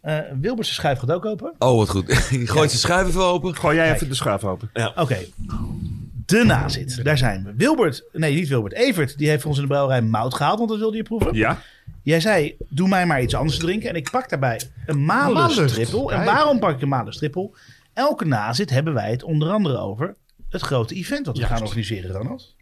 Eh Wilbert zijn schuif gaat ook open. Oh, wat goed. Die gooit zijn schuif even open. Gooi jij even de schuif open. Oké. De nazit. Daar zijn we. Wilbert, nee niet Wilbert, Evert, die heeft voor ons in de brouwerij mout gehaald, want dat wilde je proeven. Ja? Jij zei, doe mij maar iets anders te drinken. En ik pak daarbij een malus Malus. trippel. En Kijk. waarom pak ik een malus trippel? Elke nazit hebben wij het onder andere over het grote event wat we gaan organiseren, Ehm, Ronald.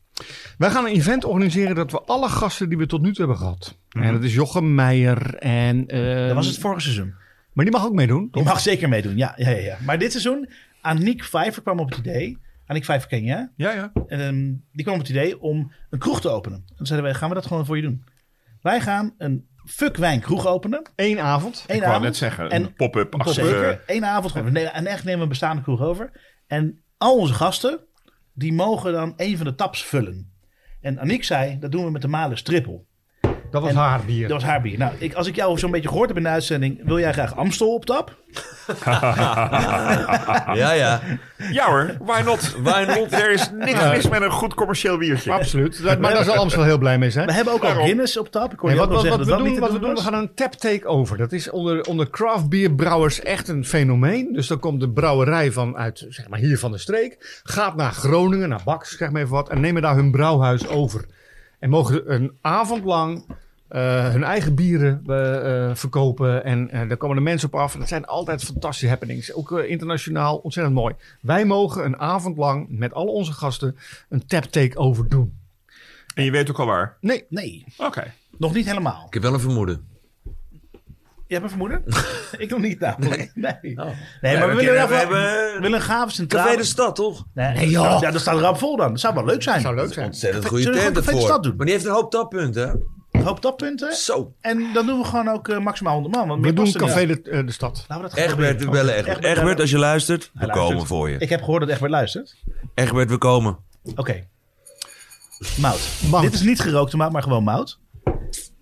Wij gaan een event organiseren dat we alle gasten die we tot nu toe hebben gehad. En dat is Jochem Meijer en... eh, Dat was het vorige seizoen. Maar die mag ook meedoen. Je toch? mag zeker meedoen, ja. ja, ja, ja. Maar dit seizoen, Aniek Vijver kwam op het idee. Aniek Vijver ken je, hè? Ja, ja. Ehm, die kwam op het idee om een kroeg te openen. Toen zeiden wij, gaan we dat gewoon voor je doen? Wij gaan een fuck wijn kroeg openen. Eén avond. Eén Ik wou avond. net zeggen, En een pop-up Zeker. achter. Eén avond gewoon. Nee, en echt nemen we een bestaande kroeg over. En al onze gasten, die mogen dan een van de taps vullen. En Aniek zei, dat doen we met de Malus trippel. Dat was En- haar bier. Dat was haar bier. Nou, ik, als ik jou zo'n beetje gehoord heb in de uitzending, wil jij graag Amstel op tap? Ja, ja. Ja hoor, why not? Why not? Er is niks mis met een goed commercieel biertje. Absoluut. Dat- maar daar zal Amstel heel blij mee zijn. We hebben ook al Waarom? Guinness op tap. Ik hoorde Nee, je ook wat, al zeggen wat, dat wat we dat doen, niet wat te we doen doen, was. we gaan een tap takeover. Dat is onder, onder craft beer brouwers echt een fenomeen. Dus dan komt de brouwerij vanuit, zeg maar hier van de streek, gaat naar Groningen, naar Baks, zeg maar even wat, en nemen daar hun brouwhuis over. En mogen een avond lang eh, hun eigen bieren eh, eh, verkopen. En eh, daar komen de mensen op af. En dat zijn altijd fantastische happenings. Ook eh, internationaal ontzettend mooi. Wij mogen een avond lang met al onze gasten een tap takeover doen. En je weet ook al waar. Nee, Nee, Oké. nog niet helemaal. Ik heb wel een vermoeden. Je hebt een vermoeden? ik nog niet namelijk. Nee, nee. Oh. maar we, we willen, kennen- even- we hebben- we willen een gave Café centrale... de Stad, toch? Nee, joh. Ja, dat staat rap vol dan. Dat zou wel leuk zijn. zou leuk zijn. Ontzettend Zullen we goede gewoon tent Café de Stad ervoor. doen? Maar die heeft een hoop tappunten. hè? Een hoop tappunten. Zo. En dan doen we gewoon ook eh, maximaal 100 man. Want We meer doen past er niet. Café de, eh, de Stad. Laten we dat gewoon Egbert, we proberen. bellen Oké, Egbert. bellen. Egbert, als je luistert, we luistert. komen voor je. Ik heb gehoord dat Egbert luistert. Egbert, we komen. Oké. Mout. Mout. Dit is niet gerookte mout, maar gewoon mout.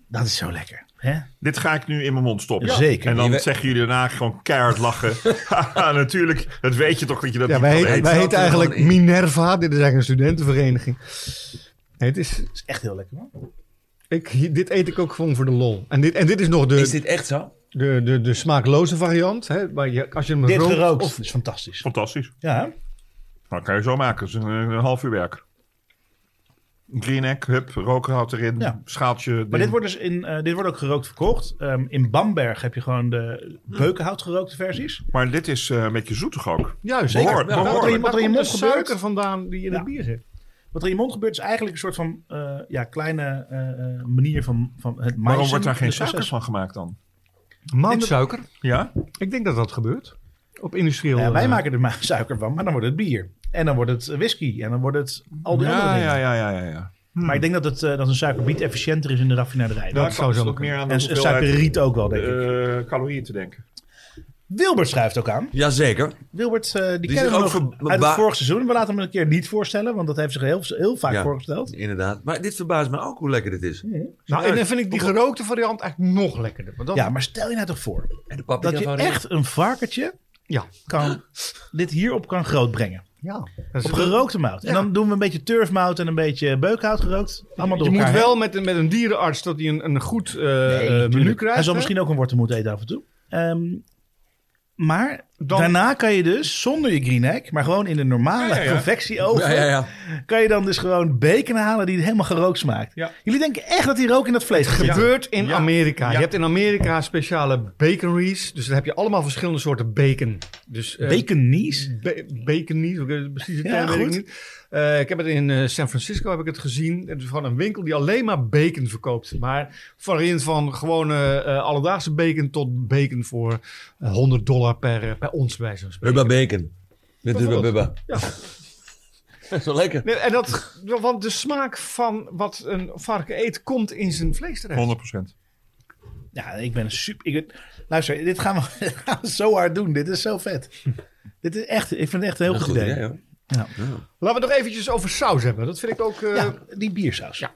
Dat is zo lekker. Hè? Dit ga ik nu in mijn mond stoppen. Ja. Zeker. En Je dan we- zeggen jullie daarna gewoon keihard lachen. Haha, Natuurlijk, dat weet je toch dat je dat Ja, niet wij, kan eten. wij dat heten eigenlijk gewoon Minerva. Dit is eigenlijk een studentenvereniging. Nee, het is, Dat is echt heel lekker, man. ik, hier- dit eet ik ook gewoon voor de lol. En dit, en dit is nog de, Is dit echt zo? de, de, de smaakloze variant. Hè? Maar je, als je hem Dit rookt, gerookt of- is fantastisch. Fantastisch. Ja, hè? Dat kan je zo maken. Dat is een, een half uur werk. Green egg, hup, rokerhout erin, Ja. schaaltje. Maar ding. dit wordt, dus in, eh, dit wordt ook gerookt verkocht. Ehm, in Bamberg heb je gewoon de beukenhout gerookte versies. maar dit is eh, een beetje zoetig ook. Juist, Zeker. behoorlijk, Ja, wat er in- behoorlijk. wat er in je Daar mond komt de gebeurt. suiker vandaan die in Ja. het bier zit. Wat er in je mond gebeurt is eigenlijk een soort van eh, ja, kleine eh, eh, manier van, van het maken. Waarom wordt daar geen suiker van gemaakt dan? Maandsuiker. Ja? Ik denk dat dat gebeurt. Op industrieel. Ja, wij eh, maken er maar suiker van, maar dan wordt het bier. En dan wordt het whisky. En dan wordt het al die andere Ja, dingen. ja, ja, ja, ja, ja. Maar ik denk dat, het, eh, dat een suikerbiet efficiënter is in de raffinaderij. Ja. En Dat zou is zo ook kunnen. meer aan de en hoeveelheid, suikerriet ook wel, denk ik. eh, calorieën te denken. Wilbert schrijft ook aan. Jazeker. Wilbert, eh, die is kennen we ook nog verba- uit het vorig seizoen. We laten hem een keer niet voorstellen, want dat heeft zich heel, heel vaak Ja. voorgesteld. Inderdaad. Maar dit verbaast me ook hoe lekker dit is. nou, en dan vind ik die gerookte variant eigenlijk nog lekkerder. Want dat, Ja, maar stel je nou toch voor En de dat je echt een varkentje ja. kan, dit hierop kan grootbrengen. ja. Dat is- Op gerookte mout. En Ja. dan doen we een beetje turfmout en een beetje beukhout gerookt. Allemaal door je moet elkaar heen. wel met een, met een dierenarts dat hij een, een goed eh, eh, menu tuurlijk. krijgt. Hij zal hè? misschien ook een wortel moeten eten af en toe. Ehm, maar Dan- daarna kan je dus zonder je green egg, maar gewoon in de normale Ja, ja, ja. confectieoven, Ja, ja, ja. kan je dan dus gewoon bacon halen die helemaal gerookt smaakt. Ja. Jullie denken echt dat die rook in dat vlees Ja. gebeurt? gebeurt in Ja. Amerika. Ja. Je hebt in Amerika speciale bakeries. Dus dan heb je allemaal verschillende soorten bacon. Dus, eh, Baconies? ba- bacon niet, hoe ik het precies de Ja, term weet ik goed. niet. Eh, ik heb het in eh, San Francisco heb ik het gezien. Het is gewoon een winkel die alleen maar bacon verkoopt. Maar variant van gewone eh, alledaagse bacon tot bacon voor eh, 100 dollar per, eh, per ons bij zo'n spreken. Bubba Bacon. Met Bubba Bubba. Ja. Zo lekker. Nee, en dat, want de smaak van wat een varken eet komt in zijn vlees terecht. 100 procent. Ja, ik ben super... Ik, luister, dit gaan, we, dit gaan we zo hard doen. Dit is zo vet. dit is echt... Ik vind het echt een heel goed, idee. hoor. Ja. Laten we het nog eventjes over saus hebben. Dat vind ik ook... eh, Ja, die biersaus. Ja.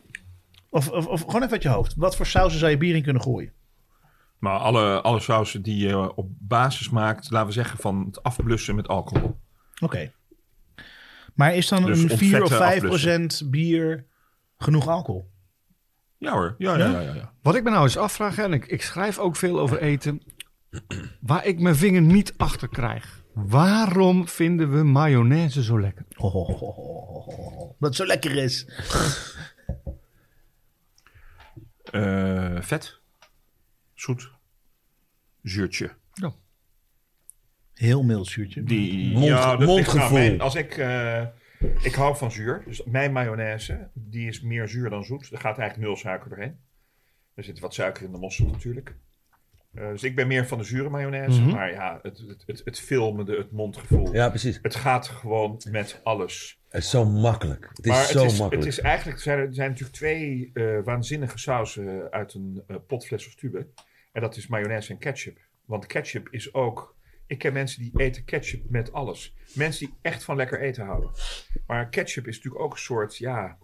Of, of, of gewoon even uit je hoofd. Wat voor sausen zou je bier in kunnen gooien? Maar alle, alle sausen die je op basis maakt, laten we zeggen, van het afblussen met alcohol. Oké. Maar is dan Dus een 4 of ontvetten, 5 afblussen. procent bier genoeg alcohol? Ja hoor. Ja, ja, ja. ja, ja. Wat ik me nou eens afvraag, en ik, ik schrijf ook veel over eten. waar ik mijn vinger niet achter krijg. Waarom vinden we mayonaise zo lekker? Ho, ho, ho, ho, ho, ho, ho. Wat zo lekker is. Eh, vet. Zoet. Zuurtje. Heel mild zuurtje. Die, Mond- dat ligt eraan. mondgevoel. Mijn- als ik, eh, ik hou van zuur. Dus mijn mayonaise, die is meer zuur dan zoet. Er gaat eigenlijk nul suiker doorheen. Er zit wat suiker in de mosterd natuurlijk. Eh, dus ik ben meer van de zure mayonaise. Mhm. Maar ja, het, het, het, het filmende, het mondgevoel. Ja, precies. Het gaat gewoon met alles. Het is zo makkelijk. Het is maar zo het, is, makkelijk. het is eigenlijk, er zijn, er zijn natuurlijk twee eh, waanzinnige sausen uit een eh, potfles of tube. En dat is mayonaise en ketchup. Want ketchup is ook. Ik ken mensen die eten ketchup met alles. Mensen die echt van lekker eten houden. Maar ketchup is natuurlijk ook een soort, ja,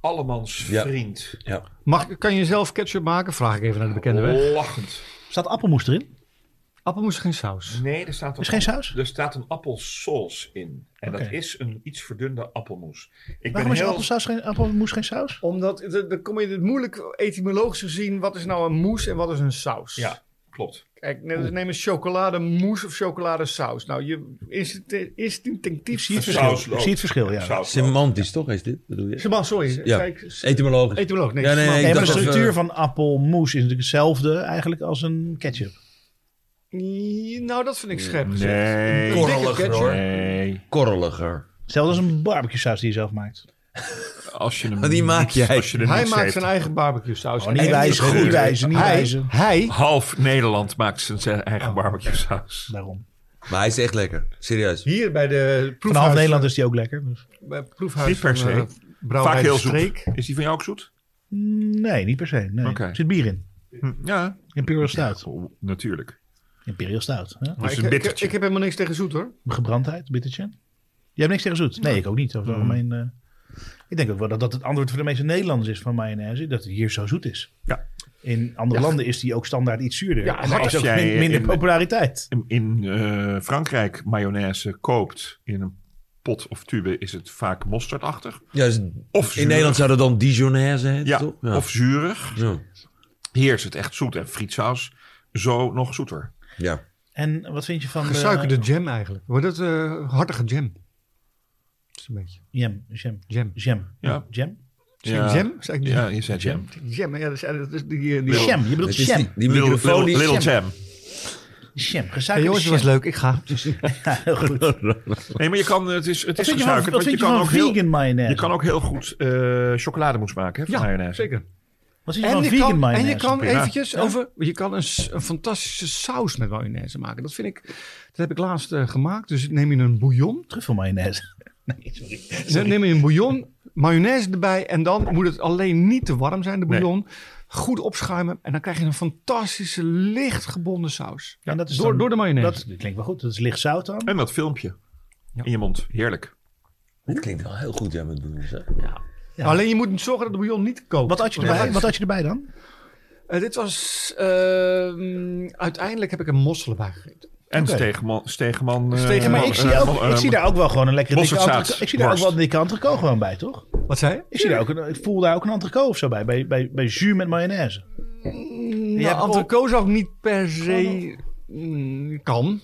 allemans Ja. vriend. Ja. Mag, kan je zelf ketchup maken? Vraag ik even naar de bekende weg. Lachend. Staat appelmoes erin? Appelmoes geen saus. Nee, er staat Is een geen saus? Er staat een appelsaus in. En dat Oké. is een iets verdunde appelmoes. Ik Waarom is ben heel... appelsaus geen, appelmoes geen saus? Omdat, d- dan kom je het moeilijk etymologisch gezien, wat is nou een moes en wat is een saus? Ja, klopt. Kijk, ne- neem een chocolademousse of chocoladesaus. Nou, je inst- instinctief zie het Een verschil. sausloop. Ik zie het verschil, ja. Saus. Semantisch, toch? Is dit? Bedoel je? Seman, sorry. Ja. Kijk, s- Etymologisch. etymoloog. Nee, Ja, nee, seman- ik Nee, maar de dacht dat, structuur eh, van appelmoes is natuurlijk hetzelfde eigenlijk als een ketchup. Nee, Nou, dat vind ik scherp gezegd. Nee. Een dikke Korreliger, ketchup. hoor. Nee. Korreliger. Hetzelfde als een barbecue saus die je zelf maakt. Als je hem Die maak niet- jij. Als je hem Hij niet maakt zeept. zijn eigen barbecue saus. Oh, niet wijzen, niet wijzen, niet Hij, wijzen. hij, Half Nederland maakt zijn ze- eigen barbecue saus. Daarom. Maar hij is echt lekker. Serieus. hier bij de Van half proefhuis, Nederland is die ook lekker. Dus. bij het proefhuis Niet per van, se. eh, Brouwerij Vaak heel de zoet. Streek. Is die van jou ook zoet? Nee, niet per se. Nee. Oké. Er zit bier in. Ja. Imperial stout. Natuurlijk. Imperial stout. Hè? Maar is ik, een ik, bittertje. ik heb helemaal niks tegen zoet hoor. Gebrandheid, bittertje. Je hebt niks tegen zoet? Nee, ik ook niet. Mm. Over het algemeen, eh, ik denk ook wel dat dat het antwoord voor de meeste Nederlanders is van mayonaise. Dat het hier zo zoet is. Ja. In andere landen is die ook standaard iets zuurder. Ja, en maar daar is als ook jij min- minder in- populariteit. In, in, eh, Frankrijk mayonaise koopt in een pot of tube is het vaak mosterdachtig. Ja, dus Of in zuurig. Nederland zou dat dan Dijonaise heten, Ja, toch? of zuurig. Ja. Hier is het echt zoet en frietsaus zo nog zoeter. ja. En wat vind je van... eh, de- Gesuikerde jam eigenlijk. eh, Wordt het eh, hartige jam? Dat is een beetje Jam, jam, jam. jam. Ja. Jam? Zeg ik jam? Zeg ik Ja, je zei jam. Jam, ja, dat is, dat is die, eh, die, Little- Jam, je bedoelt Het is die, jam. die Little, microfoon die... little, little jam. jam. Jam, Hey, gesuikerde jongens, dat was jam. leuk. Ik ga. Heel goed. Wat Nee, maar je kan, het is, het is vind je van, wat gesuikerd. want vind je je kan van ook heel- vegan mayonaise? Je kan ook heel goed eh chocolademousse maken hè, van mayonaise. zeker. Wat vind je En van je, vegan kan, en mayonaise? je kan prima. eventjes over. Je kan een, s- een fantastische saus met mayonaise maken. Dat vind ik. Dat heb ik laatst eh, gemaakt. Dus neem je een bouillon. Truffel mayonaise. Nee, sorry. Dan neem je een bouillon, mayonaise erbij. En dan moet het alleen niet te warm zijn, de Nee. bouillon. Goed opschuimen. En dan krijg je een fantastische, licht gebonden saus. en dat is door, dan- door de mayonaise. Dat klinkt wel goed. Dat is licht zout dan. En dat filmpje Ja. in je mond. Heerlijk. Dat klinkt wel heel goed, ja, met Boenus. Ja. Alleen je moet zorgen dat de bouillon niet kookt. Wat had je Want erbij, dat- wat had je erbij dan? Eh, dit was. ehm, uiteindelijk heb ik een mossel erbij gegeten. En Oké. Stegeman. Stegeman, eh, Stegeman, maar maar ik eh, zie, eh, ook, eh, ik zie daar ook wel gewoon een lekkere dikke Mosterdzaad, entrecote. Ik zie daar ook wel een dikke entrecote gewoon bij, toch? Wat zei je? Ik, zie daar ook een, ik voel daar ook een entrecote of zo bij. Bij, bij, bij jus met mayonaise. Nou, hebt entrecote zou ik niet per se... Mm, Kan.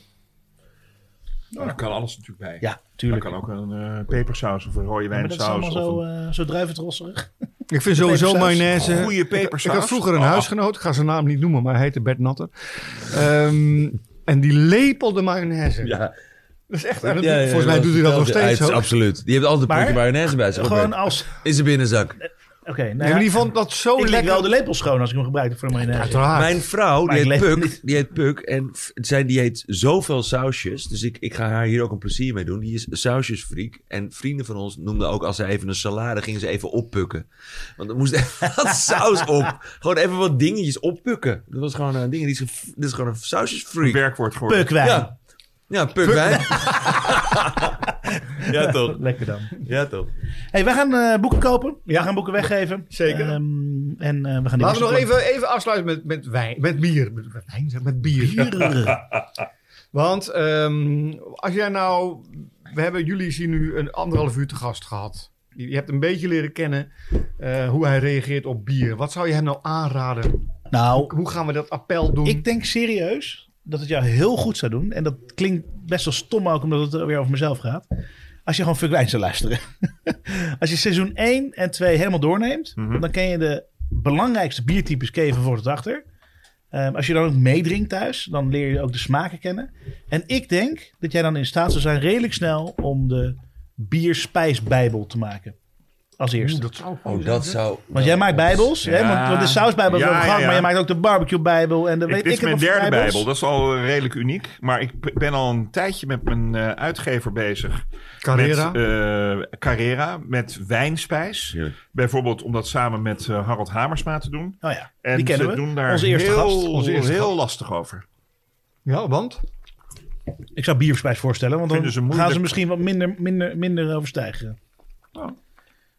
nou, daar kan alles natuurlijk bij. Ja, Daar tuurlijk. kan ook een eh, pepersaus of een rode maar dat is wijnsaus. allemaal of zo, een eh zo druiventrosserig. Ik vind sowieso pepersaus. mayonaise... goede Ik pepersaus. had vroeger een Oh. Ah, huisgenoot, ik ga zijn naam niet noemen, maar hij heette Bert Natter. Ehm, en die lepelde mayonaise. Ja. Dat is echt, en dat doet- volgens mij doet hij dat nog Ja, steeds het is zo. Absoluut. Die heeft altijd een Maar- potje mayonaise bij zich. Gewoon Gewoon als... in zijn binnenzak. Oké, nou Nee, ja, maar die vond dat zo ik leg lekker. wel de lepel schoon als ik hem gebruik voor de mayonaise. Uiteraard. Mijn vrouw, Maar die ik heet, leef Puk, niet. die heet Puk. En f- zijn dieet zoveel sausjes. Dus ik, ik ga haar hier ook een plezier mee doen. Die is sausjesfreak. En vrienden van ons noemden ook als ze even een salade gingen ze even oppukken. Want er moest even wat saus op. Gewoon even wat dingetjes oppukken. Dat was gewoon een ding. Die is, dit is gewoon een een sausjesfreak. werkwoord geworden. Pukwijn. Ja. Ja, Puk wijn. ja, toch. Lekker dan. Ja, toch. Hey, wij gaan eh, boeken kopen. We gaan boeken weggeven. Zeker. Ehm, en eh, we gaan die Laten we nog wisselen. even, even afsluiten met, met wijn. Met bier. Met, met wijn, zeg, met bier. Bier. Want ehm, als jij nou... We hebben jullie zien nu een anderhalf uur te gast gehad. Je je hebt een beetje leren kennen eh, hoe hij reageert op bier. Wat zou je hem nou aanraden? Nou, Hoe gaan we dat appel doen? Ik denk serieus dat het jou heel goed zou doen. En dat klinkt best wel stom ook, omdat het weer over mezelf gaat. Als je gewoon Fuck Wijn zou luisteren. als je seizoen 1 en 2 helemaal doorneemt, Mhm. dan ken je de belangrijkste biertypes keven voor het achter. Ehm, als je dan ook meedrinkt thuis, dan leer je ook de smaken kennen. En ik denk dat jij dan in staat zou zijn redelijk snel om de bierspijsbijbel te maken. Als eerste. dat zou Oh, dat zou... Want jij maakt bijbels, hè? Ja. Want, want de sausbijbel Ja, hebben we ja, gehad, ja. maar je maakt ook de barbecue-bijbel en de Ik, weet dit ik is het mijn nog voor derde bijbels. Bijbel. Dat is al eh, redelijk uniek. Maar ik p- ben al een tijdje met mijn eh, uitgever bezig. Carrera. Met, eh, Carrera. Met wijnspijs. Heerlijk. Bijvoorbeeld om dat samen met eh, Harald Hamersma te doen. Oh ja, En die kennen ze we. doen daar Onze eerste heel, gast. Onze eerste heel gast. lastig over. Ja, want? Ik zou bierspijs voorstellen, want dan Vinden ze gaan moeilijk. ze misschien wat minder, minder, minder overstijgen. Oh.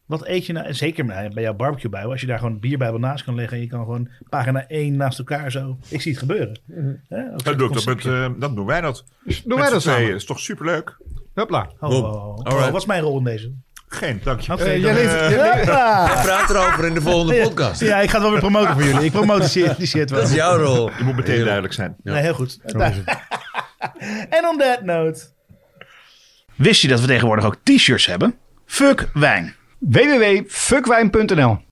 Wat eet je nou? en Zeker bij bij jouw barbecue bijbel. Als je daar gewoon een bierbijbel naast kan leggen. En je kan gewoon pagina 1 naast elkaar zo. Ik zie het gebeuren. Mhm. Hè? Ook Dat, zo'n doe ik dat, met, conceptje. eh, dat doen wij dat. Doen wij dat samen. samen? is toch superleuk? Hopla. Oh, Bob, oh, oh, oh. alright. Wat is mijn rol in deze? Geen, dank je. Oké, Eh, dan- jij levert... jij levert- Hoppa! Praat erover in de volgende podcast. Ja, ik ga het wel weer promoten voor jullie. Ik promote die- die shit wel. Dat is jouw rol. Je moet meteen duidelijk zijn. Nee, heel goed. en on that note. Wist je dat we tegenwoordig ook t-shirts hebben? Fuck wijn. www.fuckwijn.nl